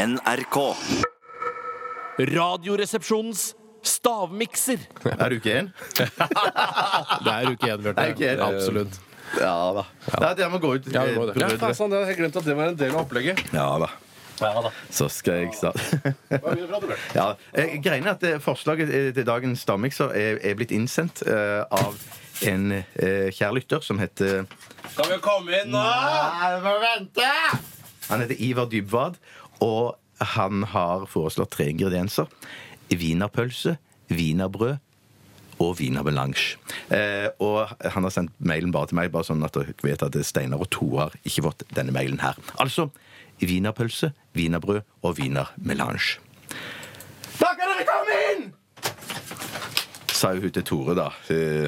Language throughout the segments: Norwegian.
NRK. Radioresepsjonens stavmikser. Det er uke én. Det er uke én, Bjarte. Det er uke én. Absolutt. Ja da. Nei, jeg må gå ut. Ja, vi må det. Ja, faen, sånn, jeg hadde glemt at det var en del av opplegget. Ja da. Så skal jeg snart ja. eh, Greiene er at eh, forslaget eh, til dagens stavmikser er, er blitt innsendt eh, av en eh, kjær lytter som heter Kan vi komme inn nå? Han heter Ivar Dybvad, og han har foreslått tre ingredienser. Wienerpølse, wienerbrød og wienermelange. Eh, og han har sendt mailen bare til meg, bare sånn at dere vet at Steinar og Tore har ikke fått denne mailen her. Altså wienerpølse, wienerbrød og wienermelange. Da kan dere komme inn! Sa jo hun til Tore, da. eh,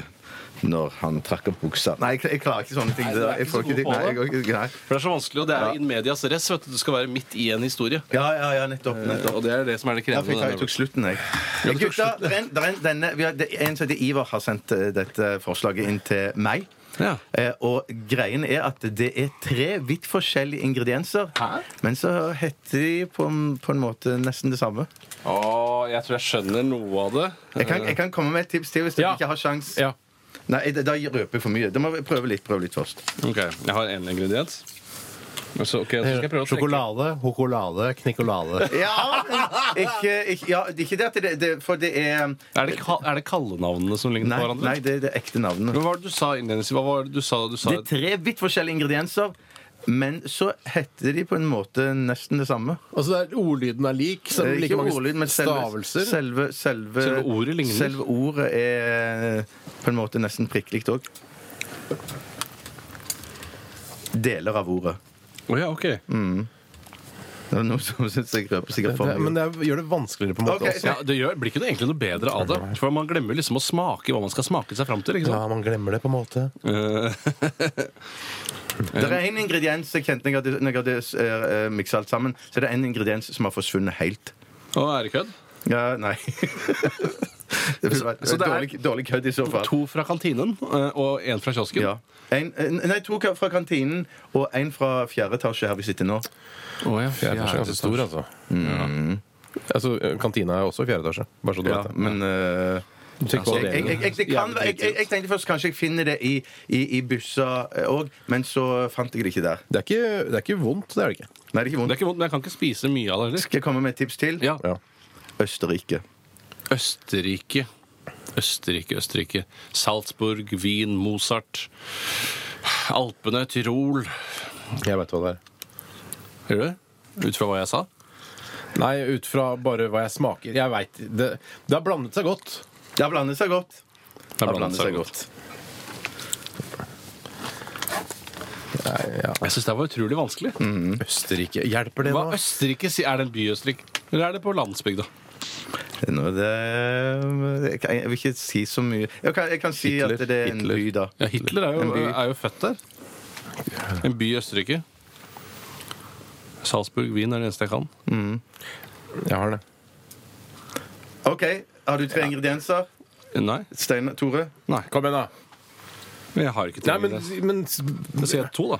Når han trakk opp buksa Nei, jeg, jeg klarer ikke sånne ting. Nei, du er jeg ikke får så ikke, god på nei, det. jeg, jeg, nei. For det er så vanskelig, og det er jo in medias res. Vet du. du skal være midt i en historie. Ja, ja, ja, nettopp. nettopp. Og det er det som er Ja, det for jeg, krevende. tar- jeg tok slutten, jeg. Ja, gutta, det er en, det er en, denne, vi har, det, er en som heter Ivar har sendt eh, dette forslaget inn til meg. Ja. Eh, og greien er at det er tre vidt forskjellige ingredienser. Men så heter de på, en- på en måte nesten det samme. Å, jeg tror jeg skjønner noe av det. Jeg kan, jeg kan komme med et tips til hvis dere Ja. ikke har sjans. Ja. Nei, da- da røper jeg for mye. Da må vi prøve litt, prøve litt først. Ok, Jeg har én ingrediens. Men Så, ok, så skal jeg prøve å tenke. Sjokolade, hokolade, knikkolade. Ja, men ikke, ikke, ja, det er ikke det at det, det For det er Er det, ka- er det kallenavnene som ligner Nei, på hverandre? nei det er det ekte navnet. Men hva var det du sa innledningsvis? Hva var det du sa? Du sa Det er tre vidt forskjellige ingredienser, men så heter de på en måte nesten det samme. Altså, det er, ordlyden er lik. Så Eh, det er like Ikke mange ordlyd, men selve, stavelser. selve, selve, Selve ordet ligner. selve ordet er eh, på en måte nesten prikklikt òg. Deler av ordet. Å ja, ok. Mm. Det er noen som syns jeg røper Det, sikkert for det, men mye. det er, gjør det vanskeligere på en måte Ok, også. Ja, det gjør, blir ikke det egentlig noe bedre av det. For Man glemmer liksom å smake hva man skal smake seg fram til. ikke Ja, sant? Eh, man glemmer det på en måte. Det er en ingrediens jeg kjente når jeg hadde, når jeg hadde eh, miksa alt sammen, så er det en ingrediens som har forsvunnet helt. Å, er det kødd? Ja, nei. det ville vært Så- så det er- dårlig, dårlig kødd i så fall. To fra kantinen eh, og én fra kiosken. Ja. En, en, nei, to ka- fra kantinen og en fra fjerde etasje her vi sitter nå. Å, ja. Fjerde etasje er ganske stor, altså. Altså, Kantina er også i fjerde etasje. Bare så du Mm. Ja, vet det. men eh, Du tenker på jeg, jeg, det. jeg, jeg, det kan, være- jeg, jeg, jeg tenkte først kanskje jeg finner det i, i, i busser òg, men så fant jeg det ikke der. Det er ikke, det er ikke vondt, det er det ikke. Nei, det er ikke Det er vondt. ikke vondt, men jeg kan ikke spise mye av det heller. Skal jeg komme med et tips til? Ja. Ja. Østerrike. Østerrike. Østerrike, Østerrike. Salzburg, Wien, Mozart. Alpene, Tyrol. Jeg veit hva det er. Hører du det? Ut fra hva jeg sa? Nei, ut fra bare hva jeg smaker. Jeg veit det, det har blandet seg godt. Det har blandet seg godt. Det har blandet seg godt. Nei, ja. Jeg syns det var utrolig vanskelig. Østerrike. Hjelper det Hva nå? Østerrike sier? Er det en by i Østerrike? Eller er det på landsbygda? Nå er det jeg, kan- jeg vil ikke si så mye. Jeg kan, jeg kan si Hitler, at det er en Hitler. by, da. Ja, Hitler er En jo, by. er jo født der. En by i Østerrike. Salzburg, Wien er det eneste jeg kan. Jeg har det. OK, har du tre ingredienser? Nei, Stein Tore? Kom igjen, da. men jeg har ikke Nei, tre. men, ingredienser. men Da sier jeg to, da.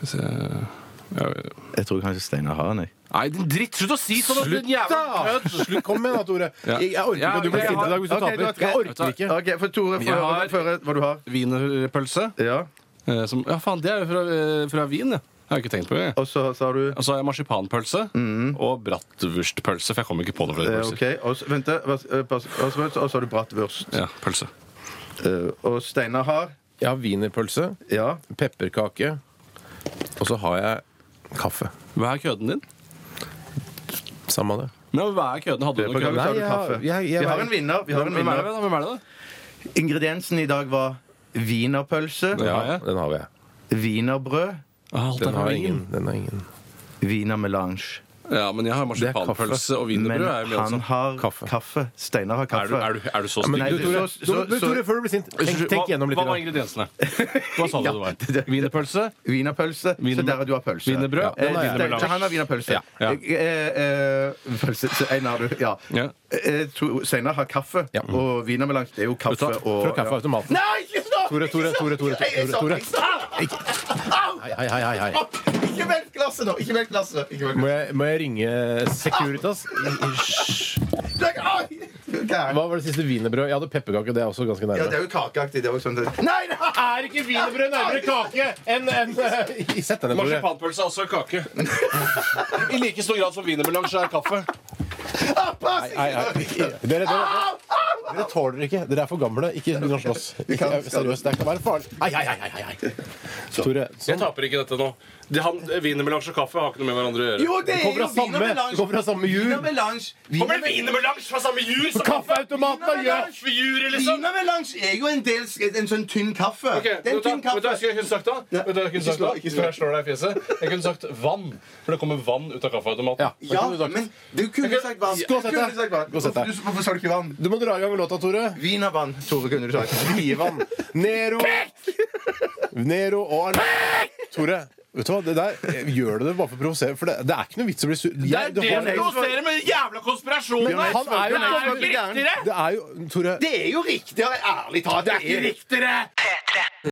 Skal vi se Ja, Jeg tror kanskje Steinar har den. jeg. Nei, din dritt! Slutt å si sånn! at din jævla kødd! Slutt, kom igjen da, Tore. Ja. Jeg, jeg orker ikke Ja, at du blir jeg sint i har- dag hvis du Ok, du har taper. tre. Jeg orker ikke. OK, for Tore, få Jeg høre har- få høre hva du har. Wienerpølse. Ja. eh, som- Ja, faen, det er jo fra, eh, fra Wien, ja. Jeg har ikke tenkt på Mm. det. jeg. Og så sa du Og så har jeg marsipanpølse og bratwurstpølse, for jeg kommer ikke på noen flere eh, pølser. OK. Og så, vent, da, hva- eh, pass- og så og så har du bratwurst. Ja, pølse. Eh, Og Steinar har Jeg har wienerpølse, Ja. pepperkake, og så har jeg kaffe. Hva er køden din? Samme av det. Nei, men hva er køden? Hadde du noen Pepperkake, så har du Nei, køden? jeg har- kaffe. jeg- jeg- vi har en vinner. Vi har en Hvem er det, vinner. da? Hvem er det, da? Ingrediensen i dag var wienerpølse, Ja, ja. Den har jeg. wienerbrød, Ah, alt er Den har fra jeg Wien. ingen. Den har jeg ingen. wienermelange. Ja, men jeg har marsipanpølse og Men wienerbrød. er jo mye han også. har Kaffe. kaffe. Steinar har Er du, kaffe. er, du, er du så Men, stygg? nei, du, du- Tore, så- du, du, så- Tore, før du blir sint, tenk, Unnskyld, tenk hva, gjennom litt. hva var grann. ingrediensene? Hva sa du det var? Wienerpølse? Wienerpølse. Wiener- Så der du har pølse. Wienerbrød? Ja, Den eh, har jeg. Stein- så han har wienerpølse. Ja, ja. Eh, eh, pølse. Så en har du. Ja. Ja. Eh, to- Steinar har kaffe, og wienermelange er jo kaffe Fra og fra kaffeautomaten. Nei, ikke stopp! Tore, Tore, Ikke stopp! Tore, Tore, Tore, Ikke stopp! Ikke stopp! Au! Hei, hei, hei. hei. Ikke Ikke velg glasset nå! Ikke velg glasset! Ikke velg Må jeg, må jeg ringe Securitas? Hysj. glasset. Hva var det siste wienerbrød? Jeg hadde pepperkake. Det er også ganske Ja, det nærme. er jo kakeaktig. Det er jo sånn Nei, nei! Er ikke wienerbrød nærmere kake enn en, eh, Sett deg ned, Tore. Marsipanpølse er altså, også kake. I like stor grad som wienermelange er kaffe. Pass! Nei, nei, dere, dere, dere, dere tåler det ikke. Dere er for gamle. Ikke begynn å slåss. Ikke- Seriøst, det kan være farlig. Ai, ai, ai, ai, ai. Tore, Jeg sånn. taper ikke dette nå. De- han- Wienermelange og kaffe har ikke noe med hverandre å gjøre. Jo, det Det er kommer jo fra samme, det kommer fra samme jul. Wienermelange. Kommer det wienermelange fra samme jur som Kaffeautomaten er gjør kaffejur, liksom? Wienermelange er jo en, del, en sånn tynn kaffe. Ok, Det er en vet du tynn hva- vet du hva kaffe. jeg skulle- kunne sagt da? Ja. Vet du hva jeg kunne Ikke slå, sagt da? ikke slå. Før jeg slår deg i fjeset. Jeg kunne sagt vann, for det kommer vann ut av kaffeautomaten. Ja. Ja, men du kunne sagt vann. Gå og sett Du kunne deg. sagt vann. Gå og sett deg. Hvorfor- Hvorfor sa du ikke vann? Du må dra i gang med låta, Tore. Wienervann, Tore, kunne du sagt. Ivan. Nero. Nero og Arne. Tore. Vet du hva, det der Gjør du det bare for å provosere? For det, det er ikke noe vits å bli sur. Jeg- du har- provoserer med den jævla konspirasjonen Men han er jo- Det er jo ikke riktigere! Det er jo Tore Det er jo riktigere, ærlig talt. Det er ikke riktigere!